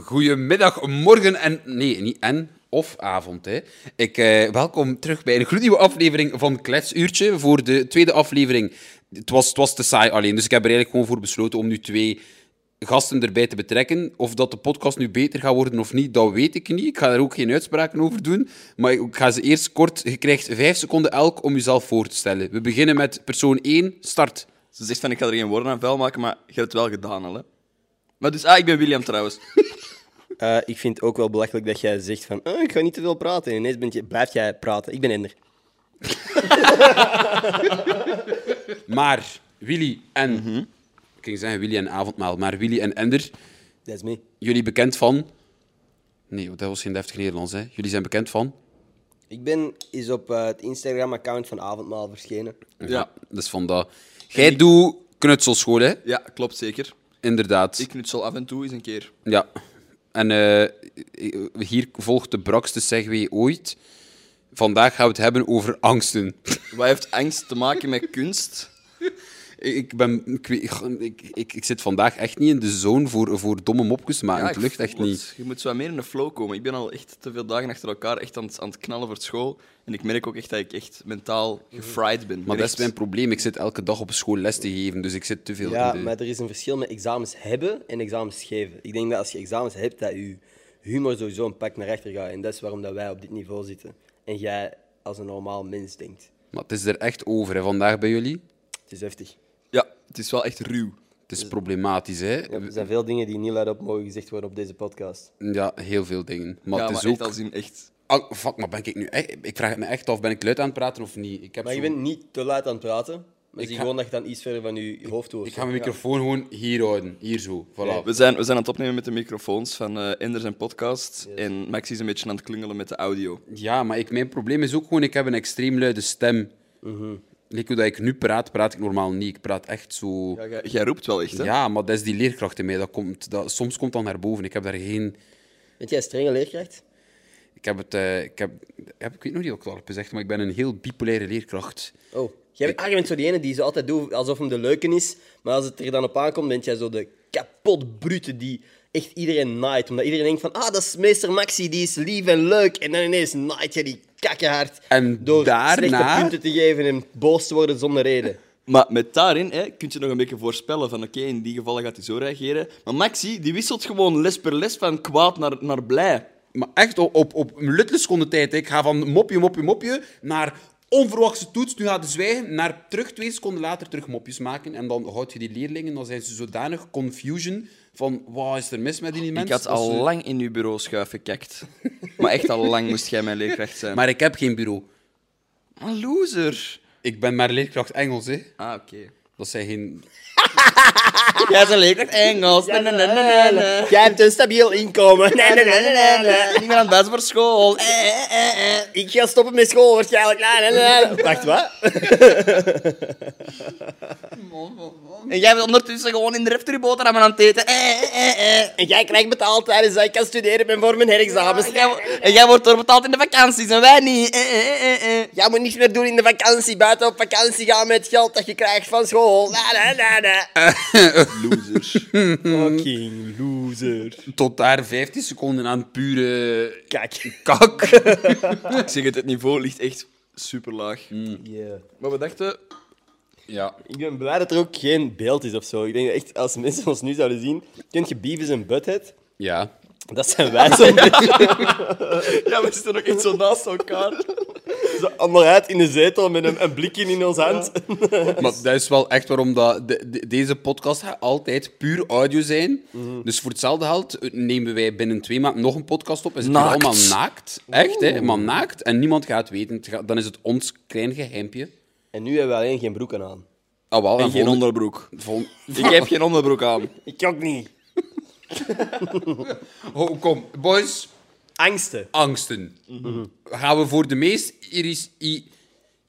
Goedemiddag, morgen en... Nee, niet en, of avond. Hè. Ik, eh, welkom terug bij een gloednieuwe aflevering van Kletsuurtje voor de tweede aflevering. Het was, het was te saai alleen, dus ik heb er eigenlijk gewoon voor besloten om nu twee gasten erbij te betrekken. Of dat de podcast nu beter gaat worden of niet, dat weet ik niet. Ik ga daar ook geen uitspraken over doen. Maar ik ga ze eerst kort... Je krijgt vijf seconden elk om jezelf voor te stellen. We beginnen met persoon 1, start. Ze zegt van ik ga er geen woorden aan vuil maken, maar je hebt het wel gedaan al, hè? Maar dus, ah, ik ben William trouwens. Eh, ik vind het ook wel belachelijk dat jij zegt van "Eh, ik ga niet te veel praten. En ineens bent je, blijf jij praten. Ik ben Ender. Maar Willy en... Ik ging zeggen Willy en Avondmaal, maar Willy en Ender, Dat is me. jullie bekend van... Nee, want dat was geen deftig Nederlands, hè. Jullie zijn bekend van... Ik ben is op eh, het Instagram-account van Avondmaal verschenen. Ja. Ja. dus van dat... Jij doet knutselschool, hè. Ja, klopt zeker. Inderdaad. Ik knutsel af en toe eens een keer. Ja. En eh, hier volgt de brakste segue ooit. Vandaag gaan we het hebben over angsten. Wat heeft angst te maken met kunst? Ik, ben, ik, weet- ik, ik, ik zit vandaag echt niet in de zone voor, voor domme mopjes, maar het ik lukt echt voel niet. het. Je moet zo wat meer in de flow komen. Ik ben al echt te veel dagen achter elkaar echt aan het, aan het knallen voor school. En ik merk ook echt dat ik echt mentaal gefried ben. Maar Ben dat is echt- mijn probleem. Ik zit elke dag op school les te geven, dus ik zit te veel Ja, in de... maar er is een verschil met examens hebben en examens geven. Ik denk dat als je examens hebt, dat je humor sowieso een pak naar achter gaat. En dat is waarom dat wij op dit niveau zitten. En jij als een normaal mens denkt. Maar het is er echt over hè, vandaag bij jullie. Het is heftig. Ja, het is wel echt ruw. Het is problematisch, hè? Ja, Ja, er zijn veel dingen die niet luid op mogen gezegd worden op deze podcast. heel veel dingen. Maar ja, het is maar ook... echt als in echt... Ah, fuck, maar ben ik nu echt... Ik vraag het me echt af, ben ik luid aan het praten of niet? Ik heb Maar je zo- bent niet te luid aan het praten. Maar Ik zie ga- gewoon dat je dan iets verder van je hoofd hoort. Ik ga mijn microfoon gewoon hier houden. Hier zo, voilà. We zijn, we zijn aan het opnemen met de microfoons van eh Ender zijn podcast. En Max is een beetje aan het klungelen met de audio. Ja, maar ik, mijn probleem is ook gewoon, ik heb een extreem luide stem. mm Mhm. hoe dat ik nu praat, praat ik normaal niet. Ik praat echt zo... Ja, jij, jij roept wel echt, hè? Ja, maar dat is die leerkracht in mij. Dat komt, dat, soms komt dat naar boven. Ik heb daar geen... Bent jij een strenge leerkracht? Ik heb het... eh, ik, heb, heb, ik weet nog niet of ik het al heb gezegd, maar ik ben een heel bipolaire leerkracht. Oh, jij bent, ah, je bent zo die ene die zo altijd doet alsof hem de leuke is. Maar als het er dan op aankomt, ben jij zo de kapot brute die echt iedereen naait. Omdat iedereen denkt van, ah, dat is meester Maxi, die is lief en leuk. En dan ineens naait je die kakkenhard. En door daarna- slechte punten te geven en boos te worden zonder reden. Maar met daarin hè, kun je nog een beetje voorspellen van oké, in die gevallen gaat hij zo reageren. Maar Maxi, die wisselt gewoon les per les van kwaad naar, naar blij. Maar echt op, op, op een luttele seconde tijd. hè. Ik ga van mopje, mopje, mopje naar onverwachte toets. Nu gaat ze zwijgen. Naar terug twee seconden later terug mopjes maken. En dan houd je die leerlingen. Dan zijn ze zodanig confusion van wat is er mis met die mensen. Ik had al lang in uw bureau schuif gekakt. maar echt al lang moest jij mijn leerkracht zijn. Maar, Maar ik heb geen bureau. loser. Ik ben maar leerkracht Engels, hè. Ah, oké. Dat zijn geen... Jij is een leerkracht Engels. Nee, nee, nee, nee, nee. Jij hebt een stabiel inkomen. Nee, nee, nee, nee, nee, nee. Niet meer aan het buiten voor school. Eh. Eh, eh, eh, eh. Ik ga stoppen met school waarschijnlijk. Nee, nee, nee. Wacht, wat? En jij bent ondertussen gewoon in de reftere boterham aan het eten. Eh, eh, eh, eh. En jij krijgt betaald tijdens dat ik kan studeren ben voor mijn herexamens. En jij wo- En jij wordt doorbetaald in de vakanties en wij niet. Eh, eh, eh, eh. Jij moet niks meer doen in de vakantie, buiten op vakantie gaan met geld dat je krijgt van school. Na, na, na, na. Losers. Ehm, Fucking loser. Tot daar 15 seconden aan pure Kijk. kak. Ik zeg het, het niveau ligt echt super laag. Maar we dachten, Ja. Ik ben blij dat er ook geen beeld is of zo. Ik denk dat echt, als mensen ons nu zouden zien, kent je Beavis en Butthead? Ja. Dat zijn wij zo'n beetje ja, we zitten ook echt zo naast elkaar. zo onderuit in de zetel met een, een blikje in ons hand. Maar Dus- dat is wel echt waarom dat de- de- deze podcast gaat altijd puur audio zijn. Mhm. Dus voor hetzelfde geld nemen wij binnen twee maanden nog een podcast op. En zitten we Naakt. allemaal naakt. Echt, hè? Helemaal naakt. En niemand gaat het weten. Het gaat- Dan is het ons klein geheimpje. En nu hebben we alleen geen broeken aan. Ah, wel. En, En geen volgende- onderbroek. vol- Ik heb geen onderbroek aan. Ik ook niet. Oh, kom, boys. Angsten. Angsten. Mhm. Gaan we voor de meest iris- i-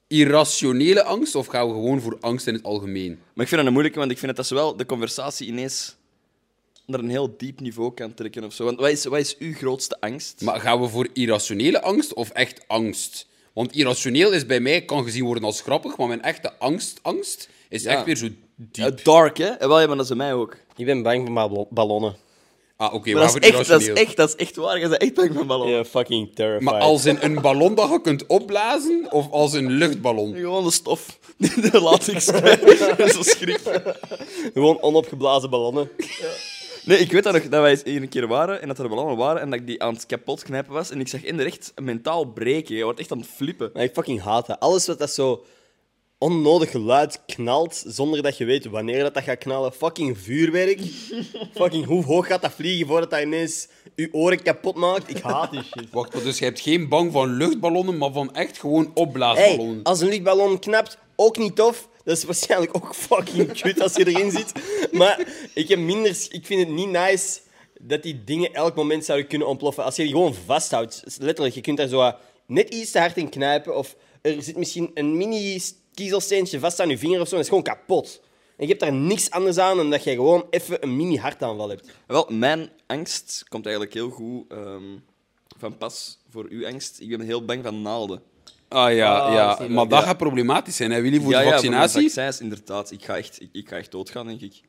irrationele angst of gaan we gewoon voor angst in het algemeen? Maar ik vind dat een moeilijke, want ik vind dat dat zowel de conversatie ineens naar een heel diep niveau kan trekken of zo. Want wat is, wat is uw grootste angst? Maar gaan we voor irrationele angst of echt angst? Want irrationeel is bij mij kan gezien worden als grappig, maar mijn echte angst, angst is echt weer zo diep. Ja, dark, hè? Eh, Wel, ja, maar dat is bij mij ook. Ik ben bang voor mijn ballonnen. Ah, oké, Maar dat we is, echt, houden het dat, is rationeel. echt, dat is echt waar. Je bent echt bang van ballon. Ja, fucking terrified. Maar als in een ballon dat je kunt opblazen, of als een luchtballon? Gewoon de stof. De latex. Zo schrik. Gewoon onopgeblazen ballonnen. Nee, ik weet dat nog, dat wij eens hier een keer waren en dat er ballonnen waren en dat ik die aan het kapot knijpen was. En ik zag in de recht mentaal breken. Je wordt echt aan het flippen. Maar ik fucking haat dat. Alles wat dat zo onnodig geluid knalt, zonder dat je weet wanneer dat, dat gaat knallen. Fucking vuurwerk. fucking hoe hoog gaat dat vliegen voordat dat ineens je oren kapot maakt? Ik haat die shit. Wacht, maar dus je hebt geen bang van luchtballonnen, maar van echt gewoon Hey, opblaasballonnen. als een luchtballon knapt, ook niet tof. Dat is waarschijnlijk ook fucking kut als je erin zit. Maar ik, heb minder, s- ik vind het niet nice dat die dingen elk moment zouden kunnen ontploffen. Als je die gewoon vasthoudt, s- letterlijk, je kunt daar zo wat net iets te hard in knijpen. Of er zit misschien een mini s- kiezelsteentje vast aan je vinger of zo. En het is gewoon kapot. En je hebt daar niks anders aan dan dat je gewoon even een mini hartaanval hebt. Wel, mijn angst komt eigenlijk heel goed ehm, van pas voor uw angst. Ik ben heel bang van naalden. Ah ja, Ah, dat is ja. niet maar leuk. dat gaat problematisch zijn, hè, Willy, voor de Ja, voor mijn vaccinatie. vaccins, inderdaad. Ik ga echt, ik, ik ga echt doodgaan, denk ik.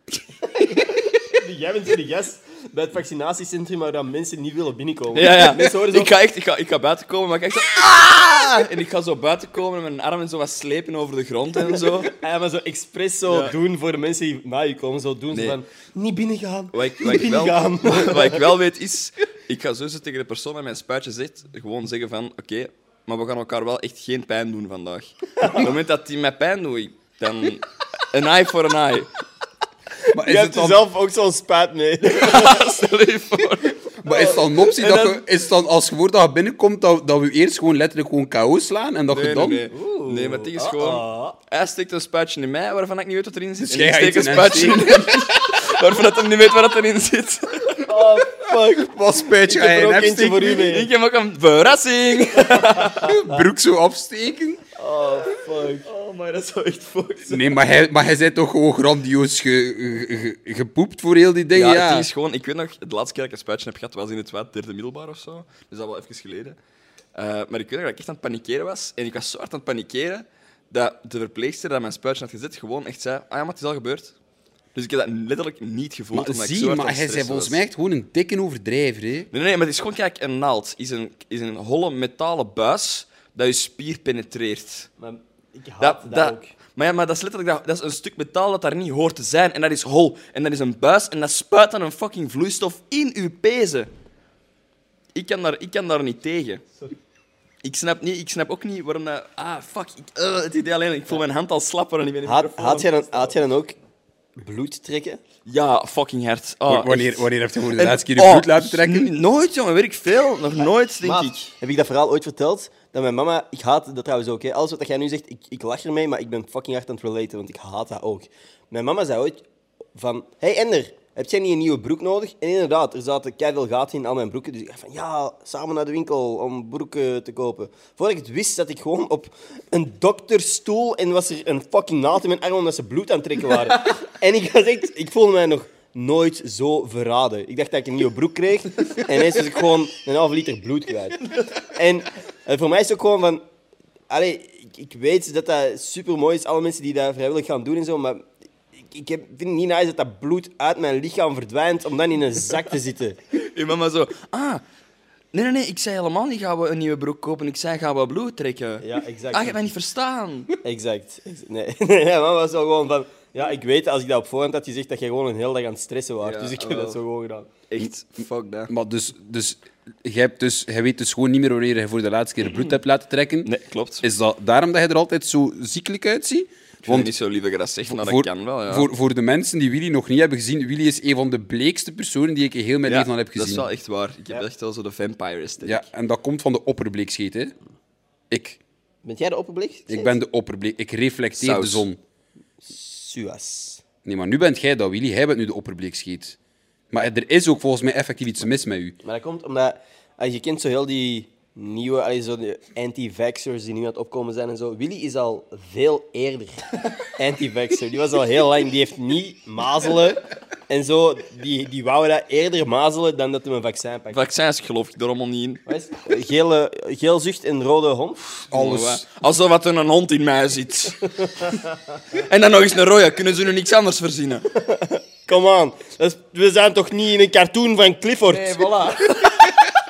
Jij bent zo de gast bij het vaccinatiecentrum waar dan mensen niet willen binnenkomen. Ja, ja. Mensen horen zo- Ik ga echt ik ga, ik ga buiten komen, maar ik ga echt zo... "Ah!" En ik ga zo buiten komen en mijn armen zo wat slepen over de grond en zo. Ah Ja, maar zo expres zo Ja. doen voor de mensen die na je komen, zo doen Nee. ze van niet binnengaan. Wat ik, wat, niet ik wel, binnengaan. wat ik wel weet is, ik ga zo tegen de persoon aan mijn spuitje zit, gewoon zeggen van, oké, maar we gaan elkaar wel echt geen pijn doen vandaag. Op het moment dat die mij pijn doet, dan een eye voor een eye. Maar Je is, het hebt er dan, zelf ook zo'n spuit mee. Stel je voor. maar is het dan een optie dat dus- dan- je, is het dan als je voor dat je binnenkomt, dat, dat we eerst gewoon letterlijk gewoon KO slaan en dat je Nee, nee, dan... nee. nee, maar het Ah, ding is gewoon... Hij steekt een spuitje in mij, waarvan ik niet weet wat erin zit. Dus en jij ik gaat steek een iets in hem spuitje in hem, waarvan dat hem niet weet wat erin zit. Oh, fuck. Wat spijt je, Ik heb er hij ook een eentje voor voor u mee. Ik heb ook een verrassing. broek zo afsteken. Oh, fuck. Oh, maar dat is wel echt fucked. Nee, maar hij, maar hij zei toch gewoon grandioos ge, ge- ge- gepoept voor heel die dingen, Ja, ja. het ding is gewoon... Ik weet nog, de laatste keer dat ik een spuitje heb gehad, was in het wat, derde middelbaar of zo. Dus dat wel even geleden. Eh, maar ik weet nog dat ik echt aan het panikeren was. En ik was zo hard aan het panikeren, dat de verpleegster dat mijn spuitje had gezet, gewoon echt zei... Ah ja, maar het is al gebeurd. Dus ik heb dat letterlijk niet gevoeld, Maar omdat ik zie, zo hard aan maar het hij zei stressen volgens was. mij echt gewoon een dikke overdrijver, hè. Nee, nee, maar het is gewoon, kijk, een naald is een, is een holle metalen buis dat je spier penetreert. Maar ik haat Dat, dat, ook. Maar ja, maar dat is letterlijk dat, dat is een stuk metaal dat daar niet hoort te zijn. En dat is hol. En dat is een buis en dat spuit dan een fucking vloeistof in uw pezen. Ik kan daar, ik kan daar niet tegen. Ik snap, niet, ik snap ook niet waarom dat... Ah, fuck. Ik, eh, het idee alleen. Ik voel mijn hand al slap en ik ben Haat, haat, jij dan, haat jij dan ook bloed trekken? Ja, fucking hard. Ah, wanneer, echt. wanneer heeft hij voor de En- laatste keer een oh, voet laten trekken? n- Nooit, jongen. Weet ik veel. Nog nooit, denk Maat, ik. Heb ik dat verhaal ooit verteld? Dat mijn mama, ik haat dat trouwens ook. Hè. Alles wat jij nu zegt, ik, ik lach ermee, maar ik ben fucking hard aan het relaten, want ik haat dat ook. Mijn mama zei ooit van, hey Ender, heb jij niet een nieuwe broek nodig? En inderdaad, er zaten keiveel gaten in al mijn broeken. Dus ik dacht van, ja, samen naar de winkel om broeken te kopen. Voordat ik het wist, zat ik gewoon op een dokterstoel en was er een fucking naald in mijn arm omdat ze bloed aan het trekken waren. en ik was echt, ik voelde mij nog nooit zo verraden. Ik dacht dat ik een nieuwe broek kreeg. En ineens was ik gewoon een half liter bloed kwijt. En eh, voor mij is het ook gewoon van... Allee, ik, ik weet dat dat super mooi is. Alle mensen die dat vrijwillig gaan doen en zo. Maar ik, ik heb, vind het niet nice dat dat bloed uit mijn lichaam verdwijnt om dan in een zak te zitten. Je mama zo, ah, nee, nee, nee, ik zei helemaal niet gaan we een nieuwe broek kopen. Ik zei gaan we bloed trekken. Ja, exact. Ah, je hebt mij niet verstaan. Exact. Ex- Nee, nee mama was zo gewoon van... Ja, ik weet als ik dat op voorhand had gezegd, dat je gewoon een hele dag aan het stressen was. Ja, dus ik heb wel. dat zo gewoon gedaan. Echt, fuck dat. Maar dus, dus, jij hebt dus, jij weet dus gewoon niet meer wanneer je voor de laatste keer bloed hebt laten trekken. Nee, klopt. Is dat daarom dat je er altijd zo ziekelijk uitziet? Ik vind het niet zo lief dat je dat zegt, maar voor, dat kan wel, ja. voor, voor de mensen die Willy nog niet hebben gezien, Willy is een van de bleekste personen die ik in heel mijn Ja, leven al heb gezien. Dat is wel echt waar. Ik heb echt wel zo de vampire aesthetic. Ja, en dat komt van de opperbleekscheet, hè? Ik. Bent jij de opperblik? Ik ben de opperbleek. Ik reflecteer Saus. de zon. Suas. Nee, maar nu bent jij dat, Willy. Jij bent nu de opperbleekscheet. Maar er is ook volgens mij effectief iets mis met u. Maar dat komt omdat als je kent zo heel die nieuwe allee, zo die anti-vaxxers die nu aan het opkomen zijn en zo. Willy is al veel eerder anti-vaxxer. Die was al heel lang, die heeft niet mazelen en zo. Die, die wou dat eerder mazelen dan dat hem een vaccin pakt. Vaccins geloof ik er allemaal niet in. Wat is het? Gele, geel zucht en rode hond. Alles. Alsof wat er een hond in mij zit. en dan nog eens een rode. Kunnen ze nu niks anders verzinnen? Come on. Dat is- we zijn toch niet in een cartoon van Clifford? Nee, voilà.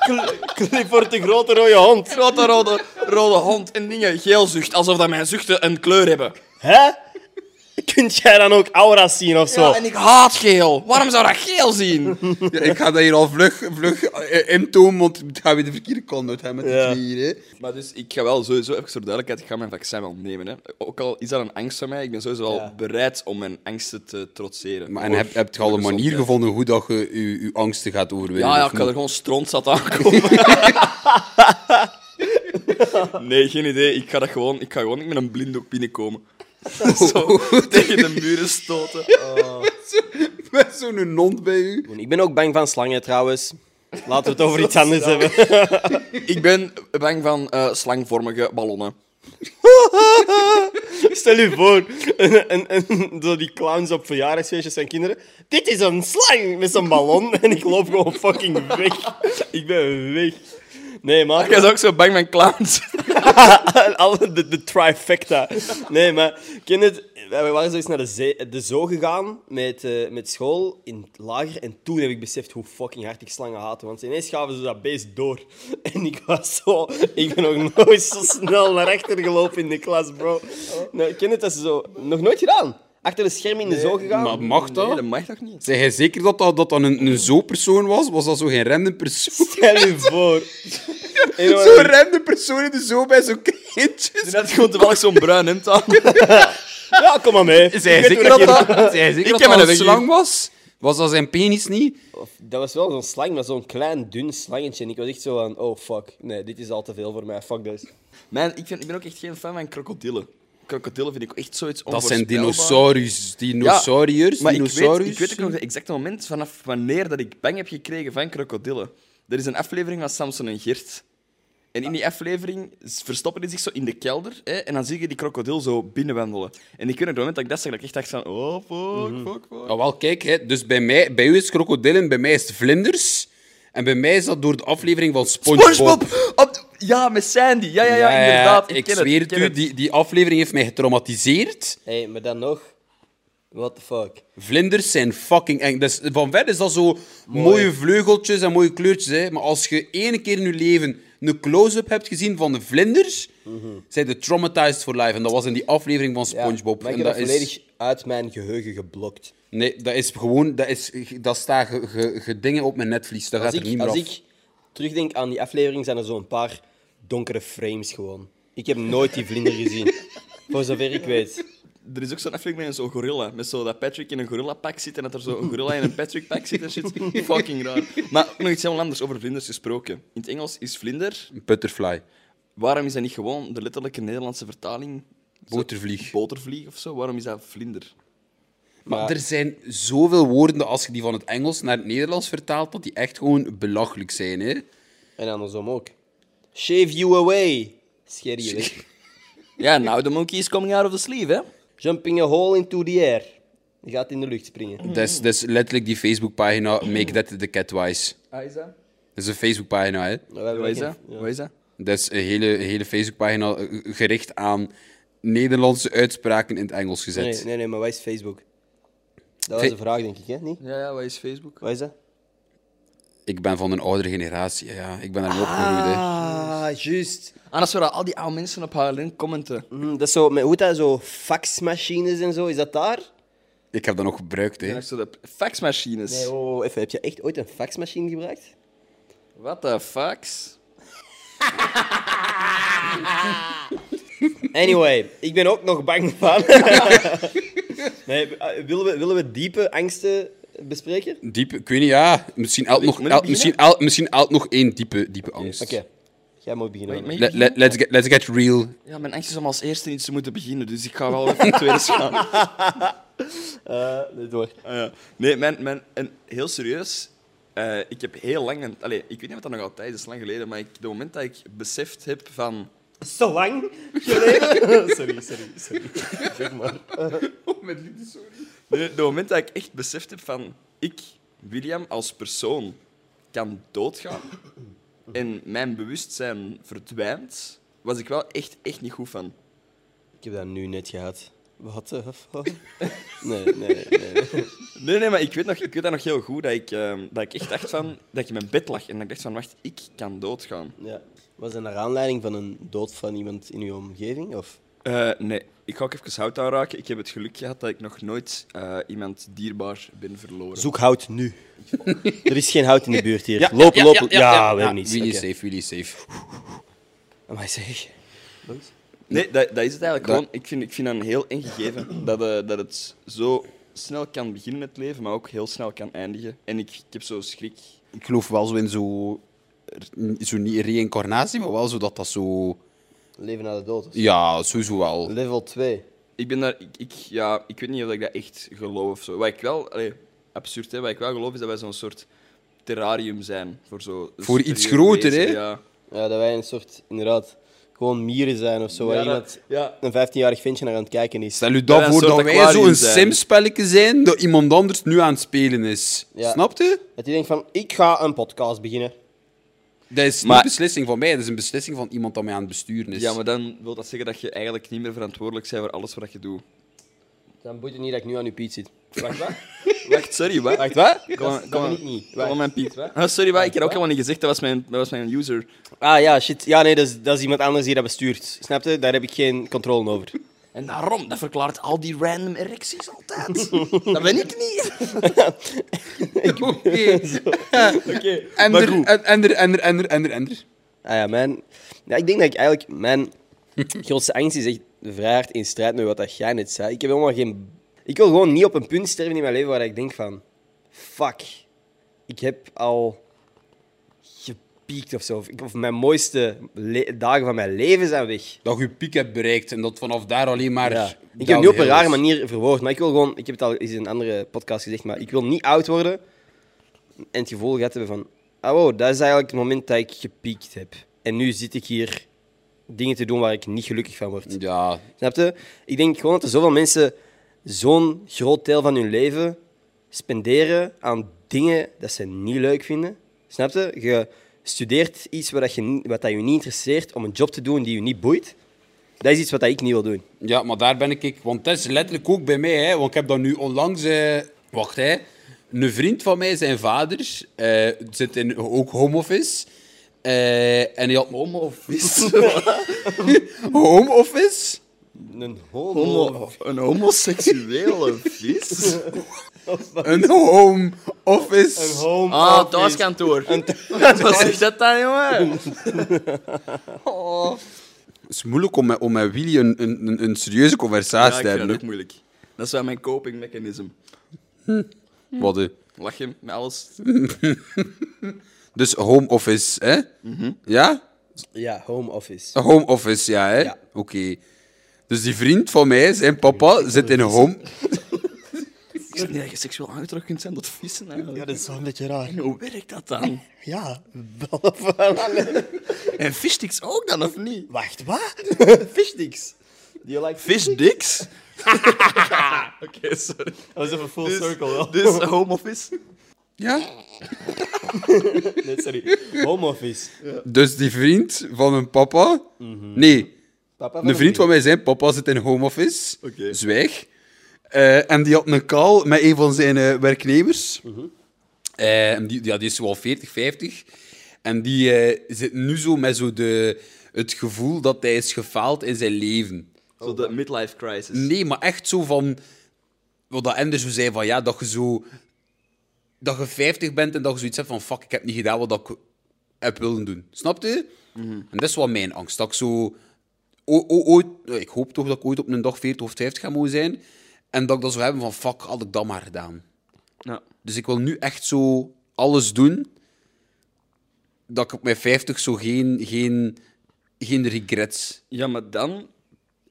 Cl- Clifford, de grote rode hond. Grote rode, rode hond en dingen. Geelzucht. Alsof dat mijn zuchten een kleur hebben. Hè? Kunt jij dan ook auras zien of zo? Ja, en ik haat geel. Waarom zou dat geel zien? Ja, ik ga dat hier al vlug, vlug eh, intomen, want ik ga weer de verkeerde kant uit hebben met die Ja. twee hier. Hè. Maar dus, ik ga wel sowieso, even voor duidelijkheid, ik ga mijn vaccin wel nemen. Hè. Ook al is dat een angst van mij, ik ben sowieso wel bereid om mijn angsten te trotseren. Maar, en Voor- heb, heb je al voor een manier gezondheid. gevonden hoe dat je je, je angsten gaat overwinnen? Ja, ja, of ik kan er niet? gewoon strontzat aankomen. nee, geen idee. Ik ga, dat gewoon, ik ga gewoon niet met een blinddoek binnenkomen. Zo, tegen de muren stoten. Met zo'n non bij u. Ik ben ook bang van slangen trouwens. Laten we het over iets anders hebben. Ik ben bang van eh, slangvormige ballonnen. Stel je voor, en, en, en, zo die clowns op verjaardagsfeestjes van kinderen. Dit is een slang met zijn ballon en ik loop gewoon fucking weg. Ik ben weg. Nee, maar... Ik was ook zo bang van clowns. Alle, de, de trifecta. Nee, maar ken je het, wij waren zoiets naar de, zee, de zoo gegaan met, eh, met school in het lager. En toen heb ik beseft hoe fucking hard ik slangen haatte. Want ineens gaven ze dat beest door. En ik was zo... Ik ben nog nooit zo snel naar achter gelopen in de klas, bro. Nou, ken je het, dat ze zo... Nog nooit gedaan. Achter de schermen in de zoo gegaan. Maar mag dat? Nee, dat mag toch niet? Zeg jij zeker dat dat, dat, dan een, een zo persoon was? Was dat zo geen random persoon? Stel je voor. En dan- Zo'n random persoon in de zo bij zo'n kindjes. Net gewoon toevallig zo'n bruin hemd aan. Ja, kom maar mee. Zij Ik weet zeker hoe dat je- dat, zei zeker dat, heb dat een een vinger. slang was? Was dat zijn penis niet? Dat was wel zo'n slang, maar zo'n klein, dun slangetje. En ik was echt zo van, oh fuck, nee, dit is al te veel voor mij, fuck this. Man, ik, vind, ik ben ook echt geen fan van krokodillen. Krokodillen vind ik echt zoiets Dat zijn onvoorspelbaar. dinosauriërs. Ja, Dinosauriërs. maar ik weet, dinosauriërs. ik weet ook nog het exacte moment vanaf wanneer dat ik bang heb gekregen van krokodillen. Er is een aflevering van Samson en Gert. En in die aflevering s- verstoppen die zich zo in de kelder. Hè, en dan zie je die krokodil zo binnenwandelen. En ik weet nog het moment dat ik dat zag, dat ik echt dacht van... Oh, fuck, fuck, fuck. Ah, wel, kijk, hè, dus bij, mij, bij u is krokodillen, bij mij is het vlinders. En bij mij is dat door de aflevering van SpongeBob. SpongeBob! Op de- Ja, met Sandy. Ja, ja, ja, Ja, ja, inderdaad. Ik, ik ken zweer het, ik u, ken het. die, die aflevering heeft mij getraumatiseerd. Hé, hey, maar dan nog, what the fuck. Vlinders zijn fucking eng. Dus van ver is dat zo mooie vleugeltjes en mooie kleurtjes. Hè. Maar als je één keer in je leven een close-up hebt gezien van de vlinders, zijn de traumatized for life. En dat was in die aflevering van Mhm. Ja, SpongeBob. maar ik en heb dat dat is- volledig uit mijn geheugen geblokt. Nee, dat is gewoon... Dat, is, dat staat ge, ge- ge dingen op mijn netvlies. Dat Als, gaat er ik, niet meer als af. ik terugdenk aan die aflevering, zijn er zo'n paar donkere frames gewoon. Ik heb nooit die vlinder gezien, voor zover ik weet. Er is ook zo'n aflevering met zo'n gorilla. Met zo dat Patrick in een gorilla-pak zit en dat er zo'n gorilla in een Patrick-pak zit en shit. Fucking raar. Maar ook nog iets helemaal anders over vlinders gesproken. In het Engels is vlinder... Butterfly. Waarom is dat niet gewoon de letterlijke Nederlandse vertaling? Zo- Botervlieg. Botervlieg of zo? Waarom is dat vlinder? Maar Maar- er zijn zoveel woorden dat als je die van het Engels naar het Nederlands vertaalt, dat die echt gewoon belachelijk zijn. Hè? En andersom ook. Shave you away, scher je weg. Ja, nou, the monkey is coming out of the sleeve, hè? Jumping a hole into the air. Je gaat in de lucht springen. Dat is, dat is letterlijk die Facebookpagina Make That The Cat Wise. Ah, is dat? Dat is een Facebookpagina, hè. Wij hebben Wat is geen- dat? Wat is dat? Dat is een hele, een hele Facebookpagina eh, gericht aan Nederlandse uitspraken in het Engels gezet. Nee, nee, nee, maar wat is Facebook? Dat Fe- was de vraag, denk ik, hè? Niet? Ja, ja, wat is Facebook? Wat is dat? Ik ben van een oudere generatie, ja. Ik ben daarmee opgegroeid, hè. Ah, juist. Anders zouden al die oude mensen op haar link commenten. Mhm, dat is zo, met, hoe heet dat, zo faxmachines en zo, is dat daar? Ik heb dat nog gebruikt, hè. En zo de faxmachines. Nee, oh, even, heb je echt ooit een faxmachine gebruikt? What the fucks? Anyway, ik ben ook nog bang van. nee, eh, willen we, willen we diepe angsten bespreken? Diep, ik weet niet, ja. Misschien elk Moet ik- nog, moet ik elk- beginnen? misschien elk, misschien elk nog één diepe, diepe angst. Oké, jij moet beginnen. Mag- mag ik Let- let- let's, get, let's get real. Ja, mijn angst is om als eerste iets te moeten beginnen, dus ik ga wel even tweede gaan. Eh, door. Ah, ja. Nee, mijn, mijn, en heel serieus. eh, ik heb heel lang... Een, allee, ik weet niet wat dat nog altijd is, lang geleden. Maar ik, het moment dat ik beseft heb van... Zo lang geleden? sorry, sorry, sorry. Zeg maar. Nee, het moment dat ik echt beseft heb van... Ik, William, als persoon kan doodgaan. En mijn bewustzijn verdwijnt. Was ik wel echt, echt niet goed van. Ik heb dat nu net gehad. Wat de fuck? Nee, nee, nee. Nee, nee, maar ik weet, nog, ik weet dat nog heel goed, dat ik, ehm, dat ik echt dacht van, dat ik in mijn bed lag en dat ik dacht van, wacht, ik kan doodgaan. Ja. Was dat naar aanleiding van een dood van iemand in uw omgeving? Of? Eh, nee, ik ga ook even hout aanraken. Ik heb het geluk gehad dat ik nog nooit eh, iemand dierbaar ben verloren. Zoek hout nu. er is geen hout in de buurt hier. Ja, lopen, ja, ja, lopen. ja, Ja, ja, ja. we hebben niets. Willy Oké. safe, Willy safe. Maar zeg. Boys? Nee, dat, dat is het eigenlijk Dat- gewoon. Ik vind, ik vind dat een heel eng gegeven. Dat, eh, dat het zo snel kan beginnen, het leven, maar ook heel snel kan eindigen. En ik, ik heb zo schrik. Ik geloof wel zo in zo... Zo niet reïncarnatie, maar wel zo dat dat zo... Leven na de dood. Ja, sowieso wel. Level 2. Ik ben daar... Ik, ik- ja, ik weet niet of ik dat echt geloof of zo. Wat ik wel... allee, absurd, hè. Wat ik wel geloof is dat wij zo'n soort terrarium zijn. Voor, zo Voor iets superieur groter, hè? Ja. Ja, dat wij een soort, inderdaad, gewoon mieren zijn of zo. waar ja, iemand, dat- ja. een 15-jarig ventje naar aan het kijken is. Stel u Dat dat wij een voor soort dat wij aquarium zo'n zijn. simspelletje zijn dat iemand anders nu aan het spelen is. Ja. Snap je? Dat hij denkt van, ik ga een podcast beginnen. Dat is niet Maar- een beslissing van mij, dat is een beslissing van iemand dat mij aan het besturen is. ja, maar dan wil dat zeggen dat je eigenlijk niet meer verantwoordelijk bent voor alles wat je doet. Dan boeit het niet dat ik nu aan uw piet zit. Wacht, wat? Wacht, sorry, wat? Wacht, wat? Kom, maar- dat kom, ben maar- ik niet. Kom maar, Wacht. mijn Piet. Ah, sorry, wat? Ik heb ook helemaal niet gezegd. Dat was mijn, dat was mijn user. Ah ja, shit. Ja, nee, dat is, dat is iemand anders die dat bestuurt. Snap je? Daar heb ik geen controle over. En daarom, dat verklaart al die random erecties altijd. dat ben ik niet. Oké. Ender, en- ender, ender, ender, ender, ender. Ah ja, mijn... Ja, ik denk dat ik eigenlijk... Mijn grootste angst is echt vrijheid in strijd met wat dat jij net zei. Ik heb helemaal geen... Ik wil gewoon niet op een punt sterven in mijn leven waar ik denk van... Fuck. Ik heb al gepiekt of zo. Of, ik- of mijn mooiste le- dagen van mijn leven zijn weg. Dat je piek hebt bereikt en dat vanaf daar alleen maar. Ja. Ik heb het downhill nu op een rare is. manier verwoord, maar ik wil gewoon... Ik heb het al eens in een andere podcast gezegd, maar ik wil niet oud worden en het gevoel gehad hebben van... Ah wow, dat is eigenlijk het moment dat ik gepiekt heb. En nu zit ik hier dingen te doen waar ik niet gelukkig van word. Ja, Snap je? Ik denk gewoon dat er zoveel mensen zo'n groot deel van hun leven spenderen aan dingen dat ze niet leuk vinden. Snap je? Je studeert iets wat, dat je, niet- wat dat je niet interesseert om een job te doen die je niet boeit. Dat is iets wat dat ik niet wil doen. ja, maar daar ben ik. Want dat is letterlijk ook bij mij, hè, want ik heb dat nu onlangs. eh, wacht, hè. Een vriend van mij, zijn vader, eh, zit in, ook home office. Eh, en hij had home office. home office? Een een homoseksuele vis? Een home office. home Ah, thuiskantoor. Wat is dat dan, jongen? Het is moeilijk om met, om met Willy een, een, een, een serieuze conversatie te hebben. dat ook hè. moeilijk. Dat is wel mijn coping mechanism. Wat, hè. Lach je met alles? Dus home office, hè? Ja? Ja, home office. Een Home office, ja, hè? Ja. Oké. Dus die vriend van mij, zijn papa, zit in een home... Ik zeg niet dat je seksueel aangetrokken kunt zijn tot vissen. eigenlijk. Ja, dat is wel een beetje raar. Hoe werkt dat dan? Ja, behalve... En fishsticks ook dan, of niet? Wacht, wat? Fishdicks. Die like Fishsticks? Oké, sorry. Dat is even Oh, full Dus- circle, wel. Dus home office? Ja? Nee, sorry. Home office. Dus die vriend van mijn papa... Mhm. Nee, Papa een vriend van mij, zijn papa, zit in home office. Oké. Zwijg. Eh, en die had een call met een van zijn eh, werknemers. Eh, en die, ja, die is zo al 40, 50. En die eh, zit nu zo met zo de, het gevoel dat hij is gefaald in zijn leven. Zo de midlife crisis. Nee, maar echt zo van... Wat dat Ender zo zei, van ja, dat je zo... Dat je 50 bent en dat je zoiets hebt van... Fuck, ik heb niet gedaan wat ik heb willen doen. Snap je? En dat is wel mijn angst. Dat ik zo... o- o- ooit, ik hoop toch dat ik ooit op een dag 40 of 50 ga mogen zijn. En dat ik dat zou hebben van... Fuck, had ik dat maar gedaan. Ja. Dus ik wil nu echt zo alles doen... Dat ik op mijn 50 zo geen... Geen, geen regrets... Ja, maar dan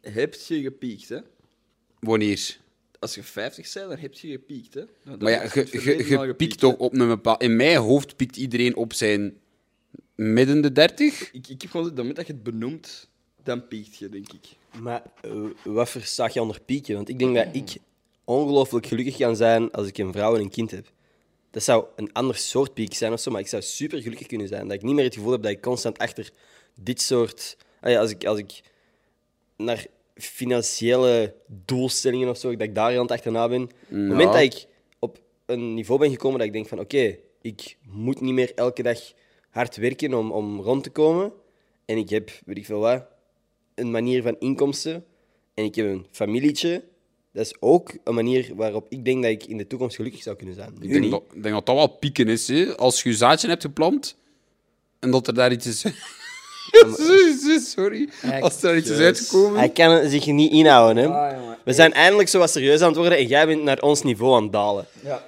heb je gepiekt, hè? Wanneer... Als je 50 bent, dan heb je gepiekt, hè? Nou, dan Maar ja, heb je, het je, verleden je al piekt gepiekt, toch hè. op een bepaal... In mijn hoofd piekt iedereen op zijn midden de 30. Ik, ik heb gewoon het moment dat je het benoemt, dan piekt je, denk ik. Maar eh, wat versta je onder pieken? Want ik denk dat ik ongelooflijk gelukkig kan zijn als ik een vrouw en een kind heb. Dat zou een ander soort piek zijn of zo, maar ik zou super gelukkig kunnen zijn. Dat ik niet meer het gevoel heb dat ik constant achter dit soort. Ah ja, als, ik, als ik naar financiële doelstellingen of zo, dat ik daar aan het achterna ben. Op het moment dat ik op een niveau ben gekomen dat ik denk van oké, ik moet niet meer elke dag hard werken om, om rond te komen. En ik heb, weet ik veel wat, een manier van inkomsten. En ik heb een familietje. Dat is ook een manier waarop ik denk dat ik in de toekomst gelukkig zou kunnen zijn. Ik Nu denk niet. dat, ik denk dat dat wel pieken is. Hè? Als je je zaadje hebt geplant en dat er daar iets is. Sorry. Als er iets is uitgekomen. Hij kan zich niet inhouden, hè. Ah, jongen. We zijn eindelijk zo wat serieus aan het worden en jij bent naar ons niveau aan het dalen. Ja.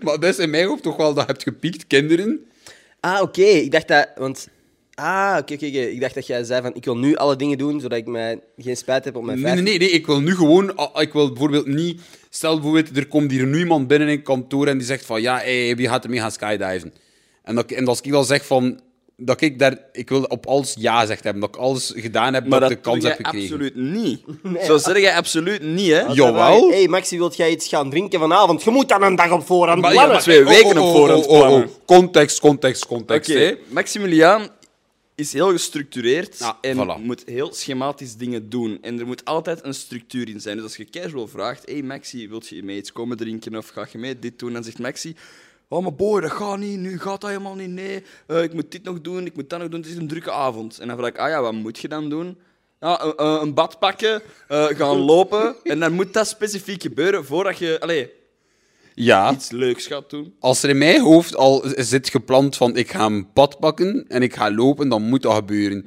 Maar dat is in mijn hoofd toch wel dat je hebt gepiekt, kinderen. Ah, oké. Ik dacht dat... Want... Ah, oké, oké, oké. Ik dacht dat jij zei van, ik wil nu alle dingen doen, zodat ik mij geen spijt heb op mijn Nee, nee, vijf. nee, nee, ik wil nu gewoon... ah, Ik wil bijvoorbeeld niet... Stel bijvoorbeeld, er komt hier nu iemand binnen in het kantoor en die zegt van... Ja, hey, wie gaat ermee gaan skydiven? En, dat, ik- en als ik dan zeg van... Dat ik daar... Ik wil op alles ja gezegd hebben. Dat ik alles gedaan heb Maar dat dat ik de kans doe heb jij gekregen. absoluut niet. Zo zeg jij absoluut niet, hè? Ja. Jawel. Hé, hey, Maxi, wilt jij iets gaan drinken vanavond? Je moet dan een dag op voorhand Maar plannen. maar- twee weken op Oh, voorhand plannen. Context, context, context. Oké, hè. Maximiliaan is heel gestructureerd Ja, en voilà. moet heel schematisch dingen doen. En er moet altijd een structuur in zijn. Dus als je casual vraagt, hey Maxi, wilt je mee iets komen drinken of ga je mee dit doen? Dan zegt Maxi, oh maar boy, dat gaat niet, nu gaat dat helemaal niet, nee. Eh, ik moet dit nog doen, ik moet dat nog doen, het is een drukke avond. En dan vraag ik, ah ja, wat moet je dan doen? Ja, een, een- een bad pakken, eh, gaan lopen. En dan moet dat specifiek gebeuren voordat je allee, Ja. iets leuks gaat doen. Als er in mijn hoofd al zit gepland van ik ga een pad pakken en ik ga lopen, dan moet dat gebeuren.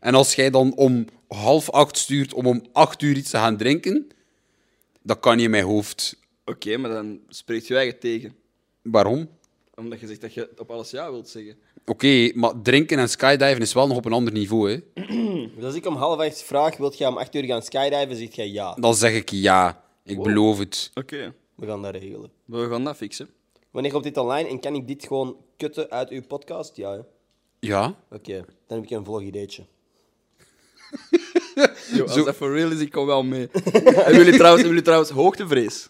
En als jij dan om half acht stuurt om om acht uur iets te gaan drinken, dat kan niet in mijn hoofd. Oké, maar dan spreekt je eigen tegen. Waarom? Omdat je zegt dat je op alles ja wilt zeggen. Oké, maar drinken en skydiven is wel nog op een ander niveau. Hè? Dus als ik om half acht vraag, wilt jij om acht uur gaan skydiven? Zegt jij ja. Dan zeg ik ja. Ik beloof het. Oké, We gaan dat regelen. we gaan dat fixen. Wanneer komt dit online en kan ik dit gewoon kutten uit uw podcast? Ja, hè. Oké, Ja? dan heb ik een vlogideetje. Yo, als dat voor real is, ik kom wel mee. hebben, jullie trouwens, hebben jullie trouwens hoogtevrees?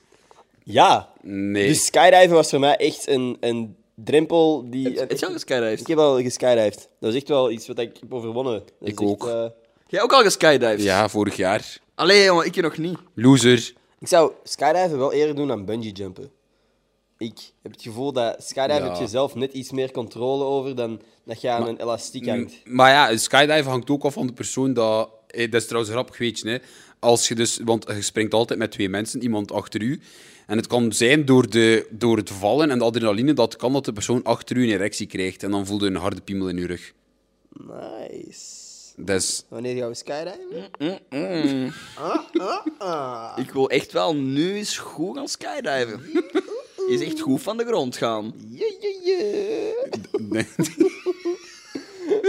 Ja. Nee. Dus skydiven was voor mij echt een, een drempel die... Het is jou Ik geskydived? heb al geskydived. Dat is echt wel iets wat ik heb overwonnen. Dat is Ik echt, ook. eh, Jij ook al geskydived? Ja, vorig jaar. Allee, jongen, ik hier nog niet. Loser. ik zou skydiven wel eerder doen dan bungee jumpen. Ik heb het gevoel dat skydiven Ja. heb je zelf net iets meer controle over dan dat je aan een elastiek hangt. Maar ja, skydive hangt ook af van de persoon dat... eh, Dat is trouwens een grappig weetje, hè. Als je dus... Want je springt altijd met twee mensen, iemand achter u. En het kan zijn door, de, door het vallen en de adrenaline, dat kan dat de persoon achter u een erectie krijgt. En dan voelde je een harde piemel in je rug. Nice. Dat is... Wanneer gaan we skydiven? Ik wil echt wel nu eens goed gaan skydiven. Is echt goed van de grond gaan. Je, je, je. Nee.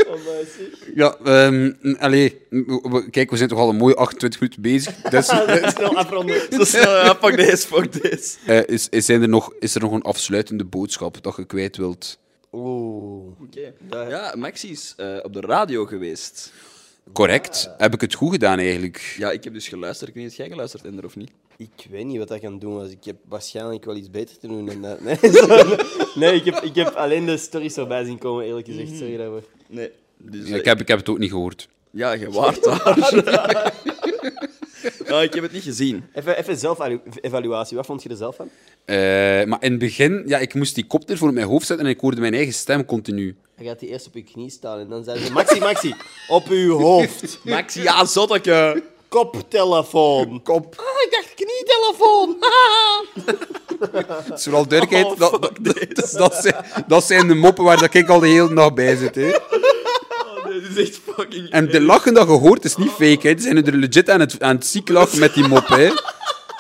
Oh, nice. ja, ehm, allee. we- we- Kijk, we zijn toch al een mooie 28 minuten bezig. Dus, Ah, Snel afronden. Zo snel, ja, pak deze, pak deze. eh, is, is, zijn er nog, is er nog een afsluitende boodschap dat je kwijt wilt? Oeh. Oké. Ja, Maxi is eh, op de radio geweest. Correct. Heb ik het goed gedaan, eigenlijk? Ja, ik heb dus geluisterd. Ik weet niet of jij geluisterd hebt, Ender, of niet? Ik weet niet wat dat kan doen was. Ik heb waarschijnlijk wel iets beter te doen dan dat. Nee, sorry. nee ik, heb, ik heb alleen de stories voorbij zien komen, eerlijk gezegd. Mhm. Sorry daarvoor. Nee. Dus, Ja, eh, ik, heb, ik heb het ook niet gehoord. Ja, je waart daar. Ja, ik heb het niet gezien. Even, even zelf-evaluatie. Wat vond je er zelf van? Eh, maar in het begin, ja, ik moest die kopter voor op mijn hoofd zetten en ik hoorde mijn eigen stem continu. Hij gaat die eerst op je knie staan en dan zei ze... Maxi, Maxi, op uw hoofd. Maxi, ja, zotteke. Koptelefoon. Kop. Ah, ik dacht knietelefoon. Het is vooral duidelijkheid, dat, dat, dat, dat zijn, dat zijn de moppen waar dat ik al de hele dag bij zit. Hè. Oh, Dit is echt fucking... En de lachen dat je hoort is niet fake. Hè. Ze zijn er legit aan het, aan het ziek lachen met die mop. Hè.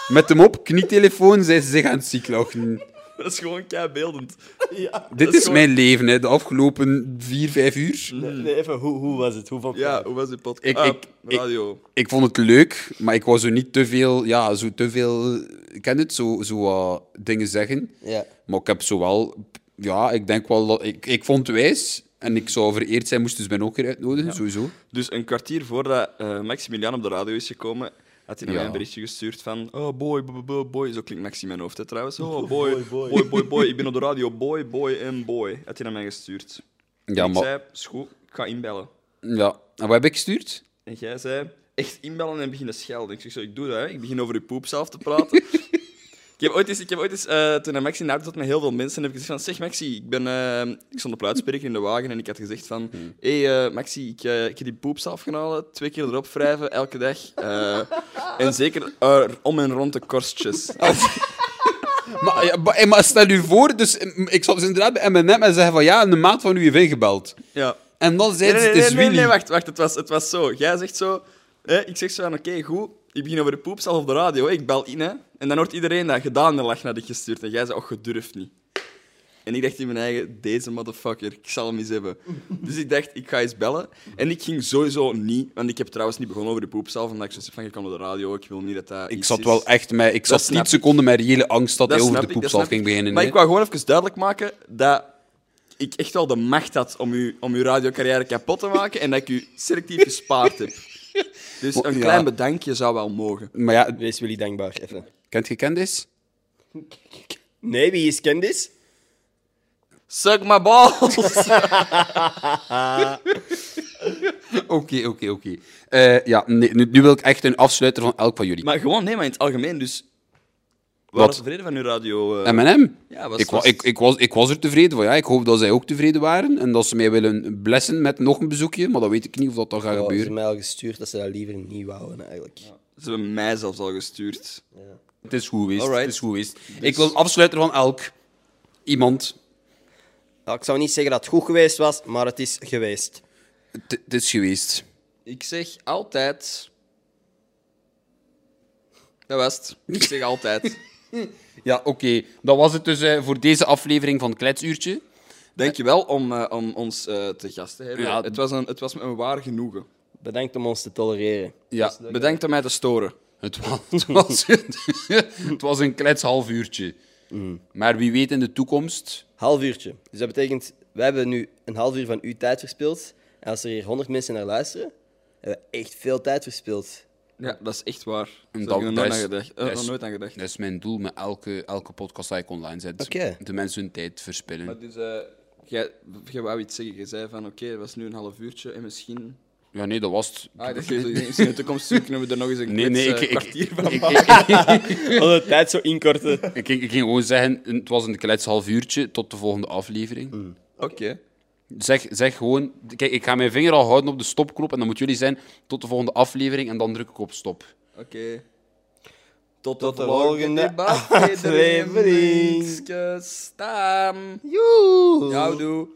Met de mop knietelefoon zijn ze zich aan het ziek lachen. Dat is gewoon keibeeldend. Ja. Dit is mijn leven, hè, de afgelopen vier, vijf uur. Nee, nee, even, hoe, hoe was het? Hoe vond je Ja, het? hoe was die podcast? Ik- Ah, ik- ik- radio. ik vond het leuk, maar ik wou zo niet te veel, ja, zo te veel, ik ken het, zo, zo wat dingen zeggen. Ja. Maar ik heb zo wel, ja, ik denk wel dat, ik, ik vond het wijs en ik zou vereerd zijn, moest dus ben ook weer uitnodigen, sowieso. Dus een kwartier voordat eh Maximilian op de radio is gekomen, had hij naar Ja. mij een berichtje gestuurd van... Oh, boy, boy, boy, boy. Zo klinkt Maxi in mijn hoofd, hè, trouwens. Oh, boy, boy, boy, boy, Ik ben op de radio. Boy, boy en boy. Had hij naar mij gestuurd. Ja, ik maar, zei, is goed, ik ga inbellen. ja. En wat heb ik gestuurd? En jij zei... echt inbellen en beginnen schelden. Ik zeg zo, ik doe dat, hè. ik begin over uw poep zelf te praten. ik heb ooit eens, ik heb ooit eens eh, toen een Maxi naar zat met heel veel mensen, heb ik gezegd van, zeg Maxi, ik ben, eh, ik stond op luidspreker in de wagen en ik had gezegd van, hé hey, eh, Maxi, ik, eh, ik heb die poep zelf gaan halen, twee keer erop wrijven, elke dag. eh, en zeker eh, om en rond de korstjes. Maar, ja, maar, maar stel u voor, dus mm, ik zat dus inderdaad bij M&M en zeggen van ja, een maat van u heeft gebeld. ja. En dan zei Nee, ze, nee, nee, het is nee, nee, Willy. nee, wacht, wacht. Het was, het was zo. Jij zegt zo... Hè, ik zeg zo van, oké, goed. Ik begin over de poep zelf op de radio. hè. Ik bel in, hè. En dan hoort iedereen dat gedaan en lach naar ik gestuurd. En jij zei, och, je durft niet. En ik dacht in mijn eigen, deze motherfucker, ik zal hem eens hebben. Dus ik dacht, ik ga eens bellen. En ik ging sowieso niet, want ik heb trouwens niet begonnen over de poep zelf, omdat ik zo zei van, je kan op de radio, ik wil niet dat dat Ik iets zat is. wel echt met... Ik zat snap 10 ik. seconden met reële angst dat, Dat hij over snap de ik, dat poepstal snap ging ik. beginnen. Maar hè. ik wou gewoon even duidelijk maken dat ik echt wel de macht had om, u, om uw radiocarrière kapot te maken en dat ik u selectief gespaard heb. Dus een ja. klein bedankje zou wel mogen. Maar ja, Wees Willy dankbaar, even. kent je Candice? Nee, wie is Candice? Suck my balls! Oké, oké, oké. Eh, Ja, nee, nu nu wil ik echt een afsluiter van elk van jullie. maar gewoon, nee, maar in het algemeen, dus... We Wat? waren tevreden van uw radio... eh, M&M? Ja, was- ik, wa- was- Ik, ik, was, ik was er tevreden van. Ja, ik hoop dat zij ook tevreden waren en dat ze mij willen blessen met nog een bezoekje, maar dat weet ik niet of dat dan gaat Oh, ze hebben gebeuren. mij al gestuurd dat ze dat liever niet wouden, eigenlijk. Ze hebben mij zelfs al gestuurd. Het is goed geweest. Alright. Het is goed geweest. Ik wil een afsluiter van elk. Iemand. Nou, ik zou niet zeggen dat het goed geweest was, maar het is geweest. Het het is geweest. Ik zeg altijd... Dat was het. Ik zeg altijd. Ja, oké. Dat was het dus eh, voor deze aflevering van Kletsuurtje. Dankjewel om, eh, om ons eh, te gast te hebben. Ja. Het, was een, het was me een waar genoegen. Bedankt om ons te tolereren. Ja, Bedankt om mij te storen. het was, het was, het was een klets half uurtje. Maar wie weet in de toekomst... Half uurtje. Dus dat betekent, wij hebben nu een half uur van uw tijd verspild. En als er hier 100 mensen naar luisteren, hebben we echt veel tijd verspild. Ja, dat is echt waar. Daar dat- heb ik nog dat nooit aan is- gedacht. Eh, dat nog is- nooit aan gedacht. Dat is mijn doel met elke, elke podcast die ik online zet. Oké. De mensen hun tijd verspillen. Maar dus, eh, jij, jij wou iets zeggen. Je zei van, oké, het was nu een half uurtje en misschien... Ja, nee, dat was het. Ah, dat geeft het niet. Misschien in de toekomst zoeken, kunnen we er nog eens een Nee, nee, klets, ik, eh, ik, kwartier ik, van ik- maken. Alle tijd zo inkorten. ik- ik- ik ging gewoon zeggen, het was een klets half uurtje, tot de volgende aflevering. Oké. Zeg, zeg gewoon, kijk, ik ga mijn vinger al houden op de stopknop en dan moeten jullie zijn tot de volgende aflevering en dan druk ik op stop. Oké. Tot, Tot de de volgende volgende aflevering. aflevering. Staan. Jouw doe.